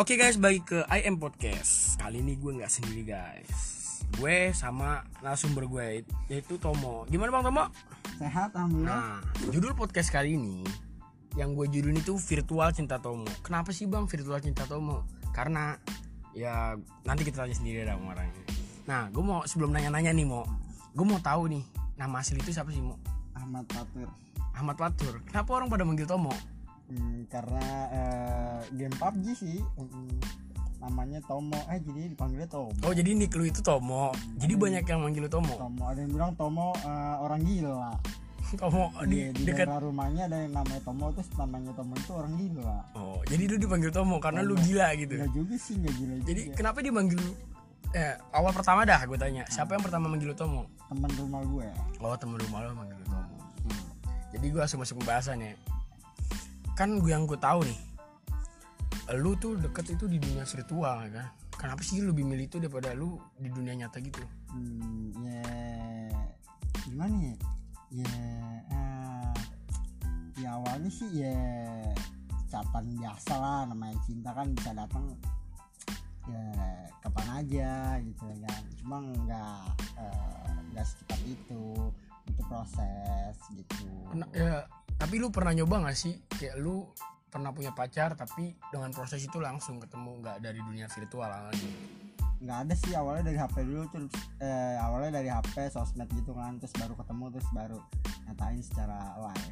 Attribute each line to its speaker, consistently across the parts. Speaker 1: Oke guys, balik ke I Am Podcast. Kali ini gue nggak sendiri guys. Gue sama narasumber gue yaitu Tomo. Gimana Bang Tomo?
Speaker 2: Sehat
Speaker 1: Nah,
Speaker 2: alhamdulillah.
Speaker 1: judul podcast kali ini yang gue judulin itu virtual cinta Tomo. Kenapa sih Bang virtual cinta Tomo? Karena ya nanti kita tanya sendiri dah sama orangnya. Nah, gue mau sebelum nanya-nanya nih mau, gue mau tahu nih nama asli itu siapa sih mau?
Speaker 2: Ahmad Fatur.
Speaker 1: Ahmad Latur. Kenapa orang pada manggil Tomo?
Speaker 2: Hmm, karena eh, game PUBG sih mm, namanya Tomo. Eh jadi dipanggilnya Tomo.
Speaker 1: Oh jadi nick lu itu Tomo. Jadi
Speaker 2: Hmm.
Speaker 1: banyak yang manggil lu Tomo.
Speaker 2: Tomo ada yang bilang Tomo eh, orang gila.
Speaker 1: Tomo di
Speaker 2: Iya, di
Speaker 1: dekat.
Speaker 2: daerah rumahnya ada yang namanya Tomo terus namanya Tomo itu orang gila.
Speaker 1: Oh jadi lu dipanggil Tomo karena lu gila gitu.
Speaker 2: Enggak juga sih enggak gila.
Speaker 1: Jadi
Speaker 2: juga.
Speaker 1: kenapa dia manggil lu? Eh awal pertama dah gue tanya siapa yang pertama manggil lu Tomo?
Speaker 2: teman rumah gue.
Speaker 1: Oh temen rumah lo manggil lu Tomo. Jadi gue langsung masuk pembahasan ya. Kan gue yang gue tahu nih. Lu tuh deket itu di dunia virtual ya kan. Kenapa sih lu lebih milih itu daripada lu di dunia nyata gitu?
Speaker 2: Hmm, ya gimana ya? Ya eh, ya awalnya sih ya ucapan biasa lah namanya cinta kan bisa datang ya kapan aja gitu kan cuma nggak eh, nggak secepat itu itu proses gitu
Speaker 1: Pernah, ya, tapi lu pernah nyoba gak sih kayak lu pernah punya pacar tapi dengan proses itu langsung ketemu nggak dari dunia virtual ah, gitu. lagi
Speaker 2: nggak ada sih awalnya dari HP dulu terus eh, awalnya dari HP sosmed gitu kan terus baru ketemu terus baru nyatain secara live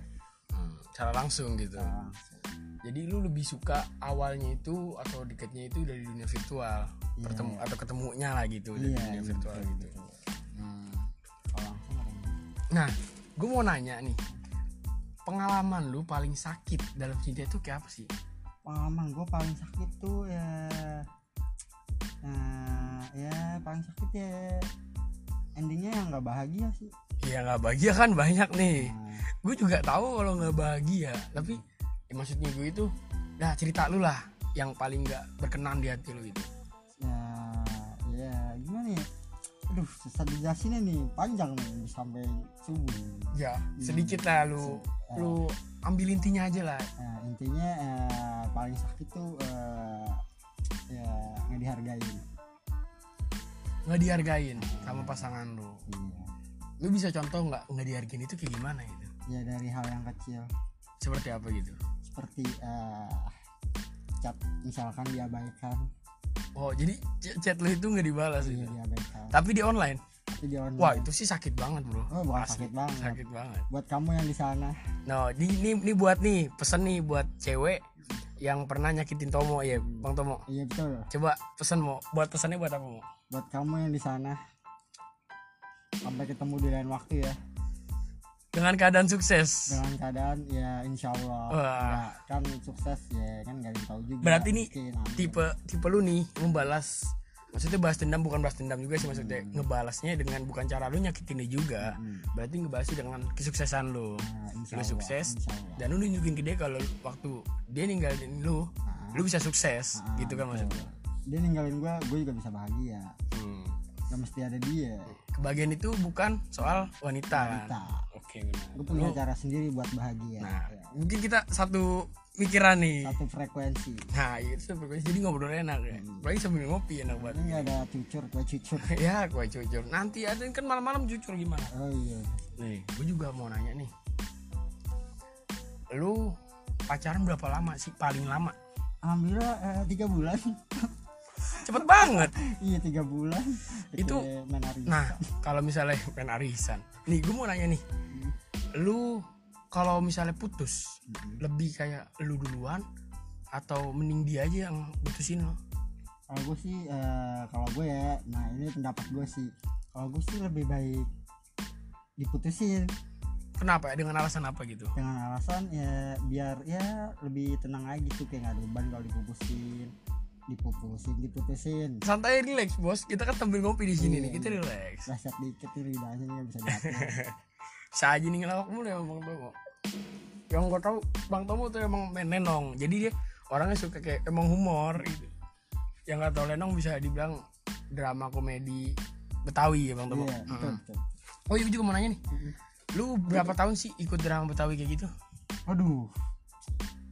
Speaker 1: Hmm, secara langsung gitu
Speaker 2: secara langsung.
Speaker 1: jadi lu lebih suka awalnya itu atau dekatnya itu dari dunia virtual bertemu atau ketemunya lah gitu dari
Speaker 2: Iya,
Speaker 1: dunia
Speaker 2: iya,
Speaker 1: virtual
Speaker 2: betul,
Speaker 1: gitu
Speaker 2: betul.
Speaker 1: Hmm.
Speaker 2: Kalau langsung ada yang-
Speaker 1: nah gue mau nanya nih pengalaman lu paling sakit dalam cinta itu kayak apa sih
Speaker 2: pengalaman gue paling sakit tuh ya nah ya paling sakit ya endingnya yang nggak bahagia sih
Speaker 1: ya nggak bahagia kan banyak nih
Speaker 2: nah,
Speaker 1: gue juga tahu kalau nggak bahagia tapi ya maksudnya gue itu dah cerita lu lah yang paling nggak berkenan di hati lu itu
Speaker 2: ya ya gimana ya aduh susah dijelasinnya nih panjang nih sampai subuh nih.
Speaker 1: ya sedikit lah lu lu ambil intinya aja lah
Speaker 2: Nah, intinya eh, paling sakit tuh eh, ya nggak dihargain
Speaker 1: nggak dihargain sama pasangan lu
Speaker 2: iya
Speaker 1: lu bisa contoh nggak nggak dihargain itu kayak gimana gitu
Speaker 2: ya dari hal yang kecil
Speaker 1: seperti apa gitu
Speaker 2: seperti eh cat misalkan diabaikan
Speaker 1: oh jadi c- chat lu itu nggak dibalas
Speaker 2: iya
Speaker 1: gitu
Speaker 2: diabaikan
Speaker 1: tapi di online
Speaker 2: Itu di online.
Speaker 1: wah itu sih sakit banget bro
Speaker 2: Oh, bukan
Speaker 1: Asli,
Speaker 2: sakit banget.
Speaker 1: sakit banget
Speaker 2: buat kamu yang di sana
Speaker 1: No, di, ini, ini buat nih pesan nih buat cewek yang pernah nyakitin Tomo ya, Bang Tomo.
Speaker 2: iya betul
Speaker 1: Coba pesan mau buat pesannya buat apa mau?
Speaker 2: buat kamu yang di sana sampai ketemu di lain waktu ya
Speaker 1: Dengan keadaan sukses.
Speaker 2: dengan keadaan ya insya Allah
Speaker 1: Wah.
Speaker 2: Ya, kan sukses ya kan gak ada yang tahu juga
Speaker 1: Berarti ini
Speaker 2: Mungkin, ah, amin.
Speaker 1: Tipe tipe lu nih membalas maksudnya balas dendam bukan balas dendam juga sih maksudnya ngebalasnya dengan bukan cara lu nyakitin dia juga.
Speaker 2: Hmm.
Speaker 1: Berarti ngebalasnya dengan kesuksesan lu.
Speaker 2: Nah, insya
Speaker 1: Lu
Speaker 2: Allah,
Speaker 1: sukses
Speaker 2: insya Allah.
Speaker 1: dan lu nunjukin ke dia kalau waktu dia ninggalin lu,
Speaker 2: Ah,
Speaker 1: lu bisa sukses
Speaker 2: ah,
Speaker 1: gitu kan
Speaker 2: betul.
Speaker 1: maksudnya.
Speaker 2: dia ninggalin gue gue juga bisa bahagia
Speaker 1: Hmm.
Speaker 2: gak mesti ada dia
Speaker 1: Kebahagiaan itu bukan soal wanita.
Speaker 2: kita
Speaker 1: kan? Oke, benar.
Speaker 2: gue punya
Speaker 1: Lu-
Speaker 2: cara sendiri buat bahagia
Speaker 1: Nah,
Speaker 2: Ya,
Speaker 1: mungkin kita satu pikiran nih.
Speaker 2: satu Hmm. frekuensi
Speaker 1: Nah, itu frekuensi jadi ngobrol enak ya. Apalagi sambil ngopi enak banget.
Speaker 2: ini gak ada cucur gue cucur
Speaker 1: ya, gue jujur. Nanti ada yang kan malam-malam jujur gimana?
Speaker 2: oh iya
Speaker 1: Nih, gue juga mau nanya nih. Lu pacaran berapa lama sih paling lama?
Speaker 2: alhamdulillah eh, tiga bulan
Speaker 1: Cepet banget.
Speaker 2: Iya tiga bulan
Speaker 1: Itu-
Speaker 2: Kayak main hari.
Speaker 1: Nah, kalau misalnya pengen arisan. Nih, gue mau nanya nih. Lu kalau misalnya putus, lebih kayak lu duluan atau mending dia aja yang putusin lo?
Speaker 2: Kalau gue sih eh, kalau gue ya, nah ini pendapat gue sih. Kalau gue sih lebih baik diputusin
Speaker 1: Kenapa? Dengan alasan apa gitu?
Speaker 2: dengan alasan ya biar ya lebih tenang aja gitu kayak nggak ada beban kalau diputusin diputusin diputusin
Speaker 1: santai relax bos kita kan sambil ngopi di sini
Speaker 2: Iya,
Speaker 1: nih kita
Speaker 2: iya.
Speaker 1: relax
Speaker 2: dasar dikit nih lidahnya nggak bisa jatuh
Speaker 1: saya aja nih ngelawak mulu ya bang Tomo yang gue tahu bang Tomo tuh emang main lenong jadi dia orangnya suka kayak emang humor gitu yang nggak tahu lenong bisa dibilang drama komedi Betawi ya bang Tomo
Speaker 2: iya betul betul
Speaker 1: oh iya gua juga mau nanya nih lu berapa tahun sih ikut drama Betawi kayak gitu
Speaker 2: aduh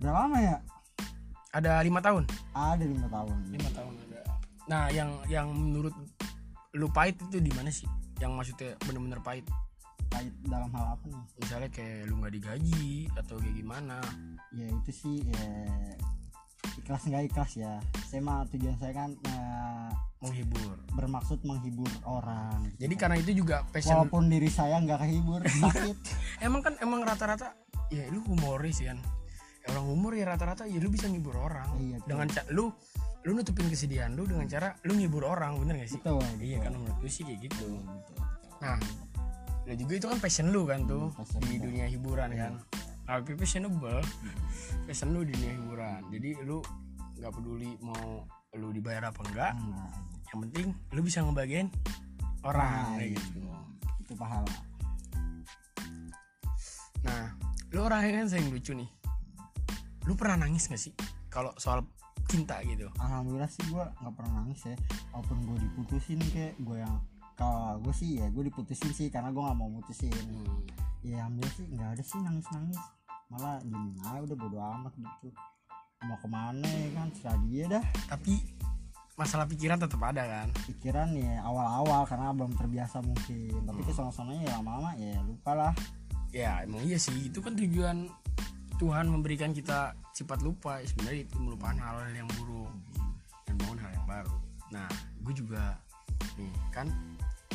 Speaker 2: berapa lama ya
Speaker 1: ada lima tahun
Speaker 2: ada lima tahun
Speaker 1: lima tahun ada nah yang yang menurut lu pahit itu di mana sih yang maksudnya bener-bener pahit
Speaker 2: pahit dalam hal apa nih
Speaker 1: misalnya kayak lu nggak digaji atau kayak gimana
Speaker 2: ya itu sih ya ikhlas nggak ikhlas ya saya mah tujuan saya kan eh,
Speaker 1: menghibur
Speaker 2: bermaksud menghibur orang
Speaker 1: jadi karena itu juga passion
Speaker 2: walaupun diri saya nggak kehibur sakit
Speaker 1: emang kan emang rata-rata ya lu humoris kan Ya, orang humor ya rata-rata ya lu bisa ngibur orang
Speaker 2: Iya, betul.
Speaker 1: dengan ca- lu lu nutupin kesedihan lu dengan cara lu ngibur orang bener gak sih
Speaker 2: betul
Speaker 1: iya kan menurut gue sih kayak gitu
Speaker 2: betul, betul.
Speaker 1: nah lu juga itu kan passion lu kan tuh
Speaker 2: Iya, passion
Speaker 1: di
Speaker 2: gua. Iya.
Speaker 1: dunia hiburan kan tapi fashionable passion lu di dunia hiburan jadi lu nggak peduli mau lu dibayar apa enggak
Speaker 2: Nah,
Speaker 1: yang penting lu bisa ngebagian orang
Speaker 2: nah,
Speaker 1: kayak gitu
Speaker 2: itu itu pahala
Speaker 1: Nah, lu orangnya kan sering lucu nih. Lu pernah nangis gak sih? Kalau soal cinta gitu.
Speaker 2: alhamdulillah sih gue nggak pernah nangis ya walaupun gue diputusin kayak gue yang kalau gue sih ya gue diputusin sih karena gue nggak mau mutusin ya ambil sih nggak ada sih nangis nangis malah diem aja udah bodo amat gitu mau kemana ya kan serah dia dah
Speaker 1: Tapi masalah pikiran tetap ada kan.
Speaker 2: pikiran ya awal-awal karena belum terbiasa mungkin tapi
Speaker 1: Hmm.
Speaker 2: kesana-sananya ya lama-lama ya lupa lah
Speaker 1: Ya, emang iya sih. Itu kan tujuan Tuhan memberikan kita sifat lupa. Ya, Sebenarnya itu melupakan hal-hal yang buruk dan bangun hal yang baru. Nah, gue juga nih kan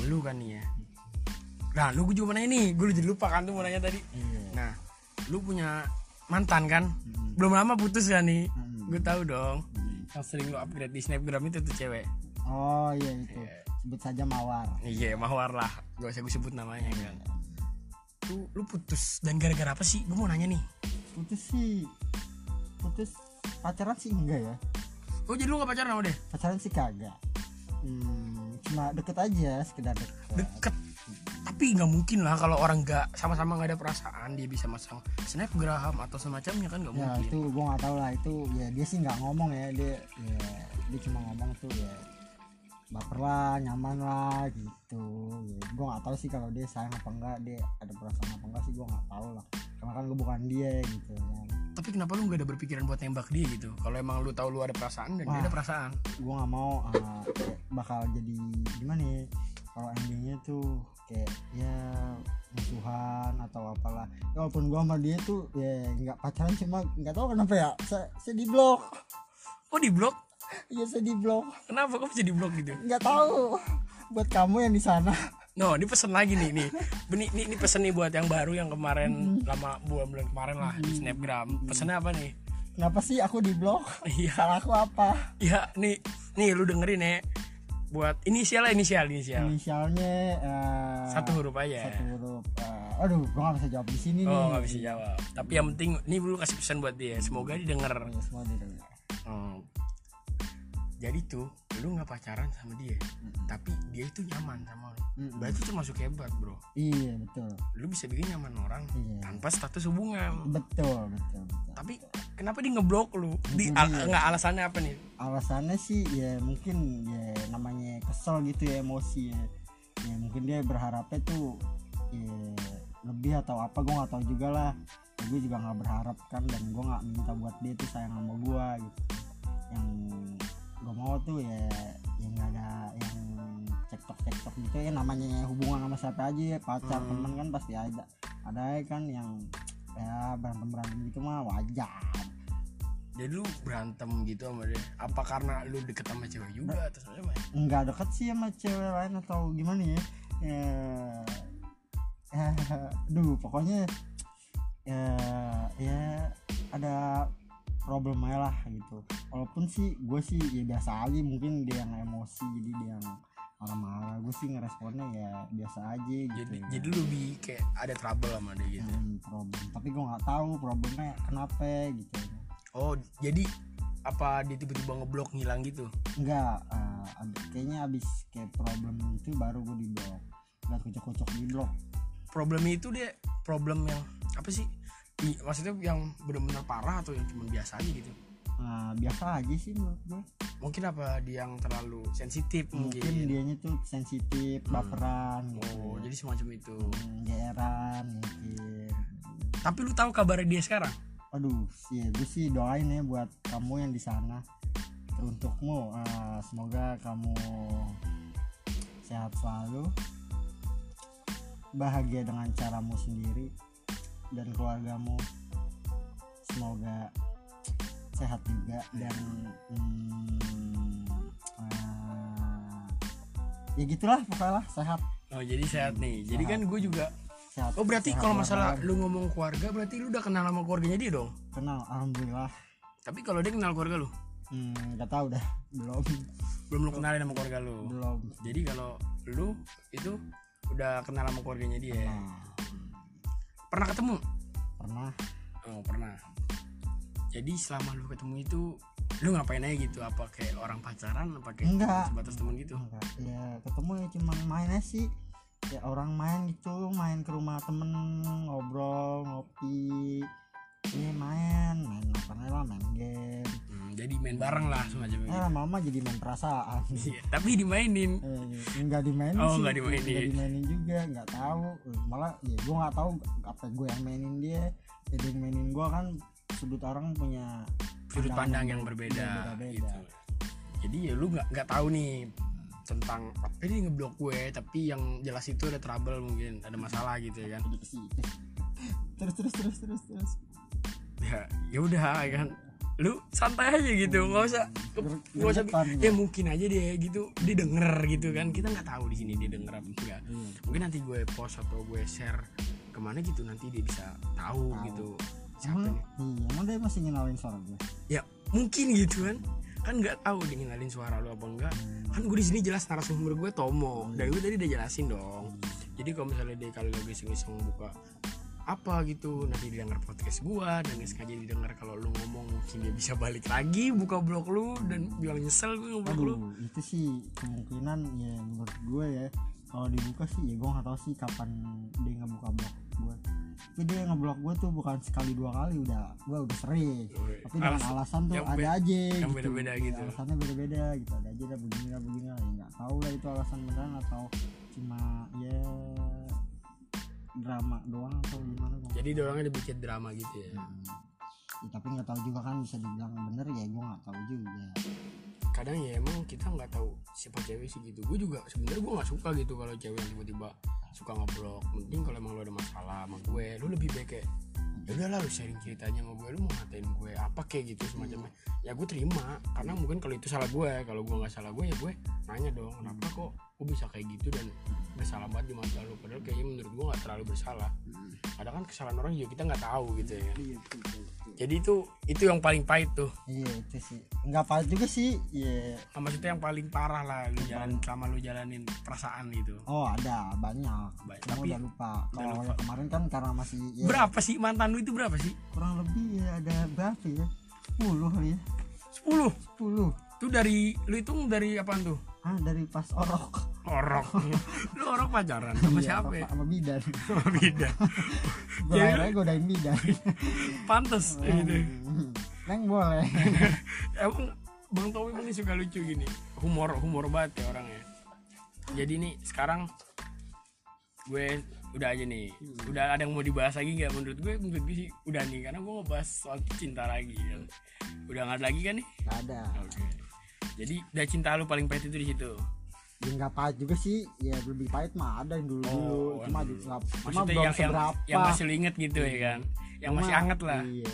Speaker 1: lu kan nih ya. Nah, lu gue juga mau nanya nih. Gue jadi lupa kan tuh mau nanya tadi.
Speaker 2: iya
Speaker 1: Nah, lu punya mantan kan?
Speaker 2: Mm-mm.
Speaker 1: Belum lama putus kan nih?
Speaker 2: Mm-mm.
Speaker 1: Gue tahu dong.
Speaker 2: Mm.
Speaker 1: Yang sering lu upgrade di snapgram itu tuh cewek.
Speaker 2: oh iya itu
Speaker 1: Iya.
Speaker 2: sebut saja mawar
Speaker 1: Iya, Mawar lah. Gak usah gue sebut namanya
Speaker 2: Iya.
Speaker 1: kan. Lu, lu putus dan gara-gara apa sih? Gue mau nanya nih.
Speaker 2: putus sih putus pacaran sih enggak ya
Speaker 1: Oh jadi lu gak pacaran sama deh?
Speaker 2: pacaran sih kagak hmm, cuma deket aja sekedar deket
Speaker 1: Deket. Tapi nggak mungkin lah kalau orang nggak sama-sama nggak ada perasaan dia bisa masang snapgram atau semacamnya kan nggak
Speaker 2: ya
Speaker 1: mungkin.
Speaker 2: itu gue nggak tahu lah itu ya dia sih nggak ngomong ya dia ya, dia cuma ngomong tuh ya baper lah nyaman lah gitu ya, gue nggak tahu sih kalau dia sayang apa enggak dia ada perasaan apa enggak sih gue nggak tahu lah karena kan gue bukan dia gitu kan
Speaker 1: Tapi kenapa lu nggak ada berpikiran buat nembak dia gitu? Kalau emang lu tahu lu ada perasaan dan dia
Speaker 2: Wah.
Speaker 1: ada perasaan.
Speaker 2: gue nggak mau ah, kayak bakal jadi gimana ya kalau endingnya tuh kayak ya musuhan atau apalah ya, walaupun gue sama dia tuh ya nggak pacaran cuma nggak tahu kenapa ya saya, saya di blok
Speaker 1: Oh di blok?
Speaker 2: ya saya di blok
Speaker 1: Kenapa kok bisa di blok gitu?
Speaker 2: nggak tahu buat kamu yang di sana
Speaker 1: No, ini pesen lagi nih nih. Ini, ini, ini pesen nih buat yang baru yang kemarin lama bulan-bulan kemarin lah di Snapgram. Pesennya apa nih?
Speaker 2: kenapa sih aku di blok
Speaker 1: Iya,
Speaker 2: salahku apa
Speaker 1: iya nih nih lu dengerin ya. Buat inisial lah inisial inisial.
Speaker 2: inisialnya eh,
Speaker 1: Iya. Satu huruf aja.
Speaker 2: satu huruf eh, aduh gua nggak bisa jawab di sini nih
Speaker 1: Oh, nggak bisa jawab. Tapi yang penting ini lu kasih pesan buat dia. Semoga dia
Speaker 2: Oh,
Speaker 1: denger.
Speaker 2: ya, semua didengar.
Speaker 1: Hmm. Jadi tuh lu nggak pacaran sama dia, tapi dia itu nyaman sama lu.
Speaker 2: Mm-mm.
Speaker 1: Berarti itu masuk hebat, Bro.
Speaker 2: iya betul
Speaker 1: Lu bisa bikin nyaman orang
Speaker 2: Iya.
Speaker 1: tanpa status hubungan.
Speaker 2: betul betul betul
Speaker 1: tapi kenapa dia ngeblok lu di al- nggak alasannya apa nih
Speaker 2: alasannya sih ya mungkin ya namanya kesel gitu ya emosi ya, Ya, mungkin dia berharapnya tuh ya, lebih atau apa gue nggak tahu juga lah Ya, gue juga nggak berharap kan dan gue nggak minta buat dia tuh sayang sama gue gitu yang gue mau tuh ya yang nggak ada yang cekcok cekcok gitu ya namanya hubungan sama siapa aja ya pacar
Speaker 1: Hmm.
Speaker 2: temen kan pasti ada ada ya kan yang ya berantem berantem gitu mah wajar
Speaker 1: jadi lu berantem gitu sama dia apa karena lu deket sama cewek juga atau sama
Speaker 2: nggak deket sih sama cewek lain atau gimana ya eh eh, aduh pokoknya eh ya ada problem aja lah gitu walaupun sih gue sih ya biasa aja mungkin dia yang emosi jadi dia yang marah-marah gue sih ngeresponnya ya biasa aja gitu
Speaker 1: jadi
Speaker 2: ya.
Speaker 1: jadi lu lebih kayak ada trouble sama dia gitu
Speaker 2: Hmm, problem tapi gue nggak tahu problemnya kenapa gitu
Speaker 1: oh jadi apa dia tiba-tiba ngeblok ngilang gitu
Speaker 2: enggak eh, ab- kayaknya abis kayak problem itu baru gue di blok nggak kocok-kocok di blok
Speaker 1: problemnya itu dia problem yang apa sih I- maksudnya yang benar-benar parah atau yang cuma biasa aja gitu
Speaker 2: Nah, biasa aja sih menurut gue
Speaker 1: mungkin apa dia yang terlalu sensitif
Speaker 2: mungkin,
Speaker 1: mungkin,
Speaker 2: dianya tuh
Speaker 1: iya,
Speaker 2: sensitif
Speaker 1: Hmm.
Speaker 2: baperan gitu
Speaker 1: oh jadi semacam itu
Speaker 2: Hmm, geran mungkin
Speaker 1: tapi lu tahu kabarnya dia sekarang
Speaker 2: aduh sih gue sih doain ya buat kamu yang di sana untukmu eh, semoga kamu sehat selalu bahagia dengan caramu sendiri dan keluargamu semoga sehat juga dan hmm, eh, ya gitulah pokoknya lah sehat
Speaker 1: Oh jadi sehat nih. Jadi kan gue juga.
Speaker 2: sehat
Speaker 1: Oh berarti
Speaker 2: sehat
Speaker 1: kalau
Speaker 2: buat
Speaker 1: masalah
Speaker 2: orang.
Speaker 1: lu ngomong keluarga berarti lu udah kenal sama keluarganya dia dong.
Speaker 2: kenal alhamdulillah
Speaker 1: Tapi kalau dia kenal keluarga lu,
Speaker 2: hmm, nggak tahu dah belum
Speaker 1: belum lu kenalin sama keluarga lu.
Speaker 2: belum
Speaker 1: Jadi kalau lu itu udah kenal sama keluarganya dia.
Speaker 2: nah,
Speaker 1: Pernah ketemu?
Speaker 2: pernah
Speaker 1: Oh pernah. Jadi selama lu ketemu itu lu ngapain aja gitu? Apa kayak orang pacaran? Apa kayak
Speaker 2: Enggak.
Speaker 1: sebatas temen gitu?
Speaker 2: Enggak, ya ketemu ya cuman main aja sih ya orang main gitu main ke rumah temen ngobrol ngopi ini main main apa nih lah main game
Speaker 1: Hmm, jadi main bareng lah semacam
Speaker 2: ya
Speaker 1: gitu.
Speaker 2: lama-lama jadi main perasaan
Speaker 1: Iya, Tapi dimainin.
Speaker 2: Eh, enggak dimainin
Speaker 1: Oh,
Speaker 2: sih
Speaker 1: enggak dimainin.
Speaker 2: Enggak dimainin juga nggak tahu malah ya gue nggak tahu apa gue yang mainin dia ya dia yang mainin gue kan sudut orang punya
Speaker 1: sudut pandang yang
Speaker 2: yang
Speaker 1: berbeda
Speaker 2: berbeda-beda.
Speaker 1: gitu. Jadi ya lu nggak nggak tahu nih tentang apa ini ngeblok gue tapi yang jelas itu ada trouble mungkin ada masalah gitu ya kan
Speaker 2: Jadi ke situ. terus terus terus terus terus
Speaker 1: ya ya udah ya kan lu santai aja gitu nggak usah
Speaker 2: Ger-
Speaker 1: nggak usah
Speaker 2: gergetan
Speaker 1: ya mungkin aja dia gitu dia denger gitu kan kita nggak tahu di sini dia denger apa enggak
Speaker 2: Iya.
Speaker 1: mungkin nanti gue post atau gue share kemana gitu nanti dia bisa tahu,
Speaker 2: Tahu.
Speaker 1: gitu siapa
Speaker 2: Emang,
Speaker 1: nih
Speaker 2: iya, emang dia masih ngenalin suara gue.
Speaker 1: ya mungkin gitu kan kan nggak tahu dia ngenalin suara lu apa enggak kan gue di sini jelas narasumber gue Tomo dan gue tadi udah jelasin dong jadi kalau misalnya dia kalau lagi iseng-iseng buka apa gitu nanti didengar podcast gue dan nggak sengaja didengar kalau lu ngomong mungkin dia bisa balik lagi buka blog lu dan bilang nyesel gue ngeblok lu
Speaker 2: Aduh, itu sih kemungkinan ya menurut gue ya kalau dibuka sih ya gue nggak tahu sih kapan dia ngebuka blog gue. Tapi dia ngeblok gue tuh bukan sekali dua kali udah, gue udah sering.
Speaker 1: Wih,
Speaker 2: Tapi dengan
Speaker 1: alasan-
Speaker 2: alasan tuh
Speaker 1: yang
Speaker 2: ada
Speaker 1: be-
Speaker 2: aja.
Speaker 1: yang
Speaker 2: gitu.
Speaker 1: beda-beda
Speaker 2: Ya,
Speaker 1: gitu.
Speaker 2: Alasannya beda-beda gitu, ada aja dah begini lah begini lah. Ya nggak tahu lah itu alasan beneran atau cuma ya drama doang atau gimana? gua nggak
Speaker 1: jadi dorongnya dibikin drama gitu ya
Speaker 2: tahu. Ya, tapi nggak tahu juga kan bisa dibilang bener ya gue nggak tahu juga.
Speaker 1: kadang ya emang kita nggak tahu siapa cewek sih gitu gue juga sebenarnya gue nggak suka gitu kalau cewek yang tiba-tiba suka ngeblok mending kalau emang lo ada masalah sama gue lu lebih baik kayak ya udahlah lu sharing ceritanya sama gue lu mau ngatain gue apa kayak gitu semacamnya
Speaker 2: Hmm.
Speaker 1: ya gue terima karena mungkin kalau itu salah gue kalau gue nggak salah gue ya gue nanya dong kenapa
Speaker 2: Hmm.
Speaker 1: kok gue bisa kayak gitu dan bersalah banget di mata lu padahal kayaknya menurut gue nggak terlalu bersalah kadang kan kesalahan orang juga kita nggak tahu gitu ya kan
Speaker 2: Hmm. Iya, betul, betul, betul.
Speaker 1: jadi itu itu yang paling pahit tuh
Speaker 2: Iya, itu sih. Enggak pahit juga sih. Iya.
Speaker 1: Nah, maksudnya yang paling parah lah lu jalan selama lu jalanin perasaan gitu
Speaker 2: Oh, ada banyak.
Speaker 1: Baik,
Speaker 2: Cuma
Speaker 1: tapi-
Speaker 2: udah lupa.
Speaker 1: udah
Speaker 2: Kalau
Speaker 1: lupa.
Speaker 2: yang kemarin kan karena masih ya,
Speaker 1: berapa sih mantan lu itu berapa sih
Speaker 2: kurang lebih ya ada berapa ya? 10 kali ya.
Speaker 1: 10
Speaker 2: 10.
Speaker 1: tuh dari lu hitung dari apaan tuh
Speaker 2: Ah, dari pas orok.
Speaker 1: orok lu orok pacaran sama
Speaker 2: Iya,
Speaker 1: siapa ya? Iya.
Speaker 2: apa- Sama bidan.
Speaker 1: sama beda
Speaker 2: Gue
Speaker 1: Jadi-
Speaker 2: akhirnya godain bidan.
Speaker 1: Gitu. pantes
Speaker 2: Iya.
Speaker 1: gitu
Speaker 2: Neng boleh.
Speaker 1: emang bang Tommy ini suka lucu gini humor humor banget ya orangnya jadi nih sekarang gue udah aja nih
Speaker 2: Hmm.
Speaker 1: udah ada yang mau dibahas lagi nggak menurut gue menurut gue sih udah nih karena gue mau bahas soal cinta lagi
Speaker 2: Hmm.
Speaker 1: ya. udah nggak ada lagi kan nih
Speaker 2: Nggak ada.
Speaker 1: Oke. Jadi udah cinta lu paling pahit itu di situ.
Speaker 2: Ya enggak pahit juga sih. Ya lebih pahit mah ada yang
Speaker 1: Oh,
Speaker 2: dulu-dulu. cuma
Speaker 1: yang
Speaker 2: juga cuma
Speaker 1: Maksudnya
Speaker 2: belum
Speaker 1: yang, yang
Speaker 2: seberapa.
Speaker 1: yang masih lu inget gitu ya kan. Yang masih
Speaker 2: Cuma,
Speaker 1: anget lah.
Speaker 2: Iya.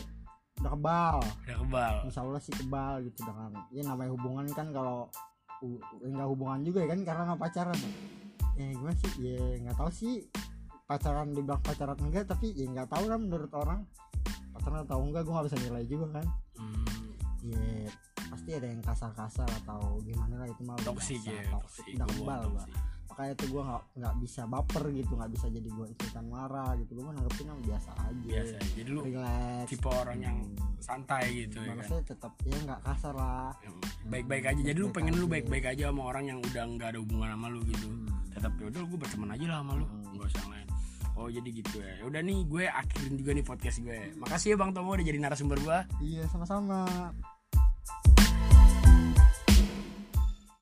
Speaker 2: Udah kebal.
Speaker 1: Udah kebal.
Speaker 2: insya Allah sih kebal gitu dengan ya namanya hubungan kan kalau u- nggak hubungan juga ya kan karena nggak pacaran ya gimana sih ya nggak tahu sih pacaran dibilang pacaran enggak tapi ya nggak tahu lah menurut orang pacaran atau enggak gue nggak bisa nilai juga kan
Speaker 1: Hmm,
Speaker 2: ya pasti ada yang kasar-kasar atau gimana lah itu malah
Speaker 1: toksik ya.
Speaker 2: toksik
Speaker 1: Toksik.
Speaker 2: udah
Speaker 1: Gua
Speaker 2: kebal gua.
Speaker 1: toksik.
Speaker 2: makanya tuh gue nggak nggak bisa baper gitu nggak bisa jadi gue ikutan marah gitu gue nanggepinnya biasa aja
Speaker 1: Biasa. Jadi lu
Speaker 2: Iya. relax
Speaker 1: tipe orang yang santai gitu ya kan.
Speaker 2: maksudnya tetap ya nggak kasar lah
Speaker 1: Yang Baik-baik aja. Jadi lu
Speaker 2: Baik-baik
Speaker 1: pengen lu
Speaker 2: aja.
Speaker 1: baik-baik aja sama orang yang udah nggak ada hubungan sama lu gitu.
Speaker 2: Hmm.
Speaker 1: Tetap yaudah gue berteman aja lah sama lu.
Speaker 2: Hmm.
Speaker 1: Enggak usah lain. Oh jadi gitu ya. Udah ya nih gue akhirin juga nih podcast gue. Makasih ya Bang Tomo udah jadi narasumber gue.
Speaker 2: Iya sama-sama.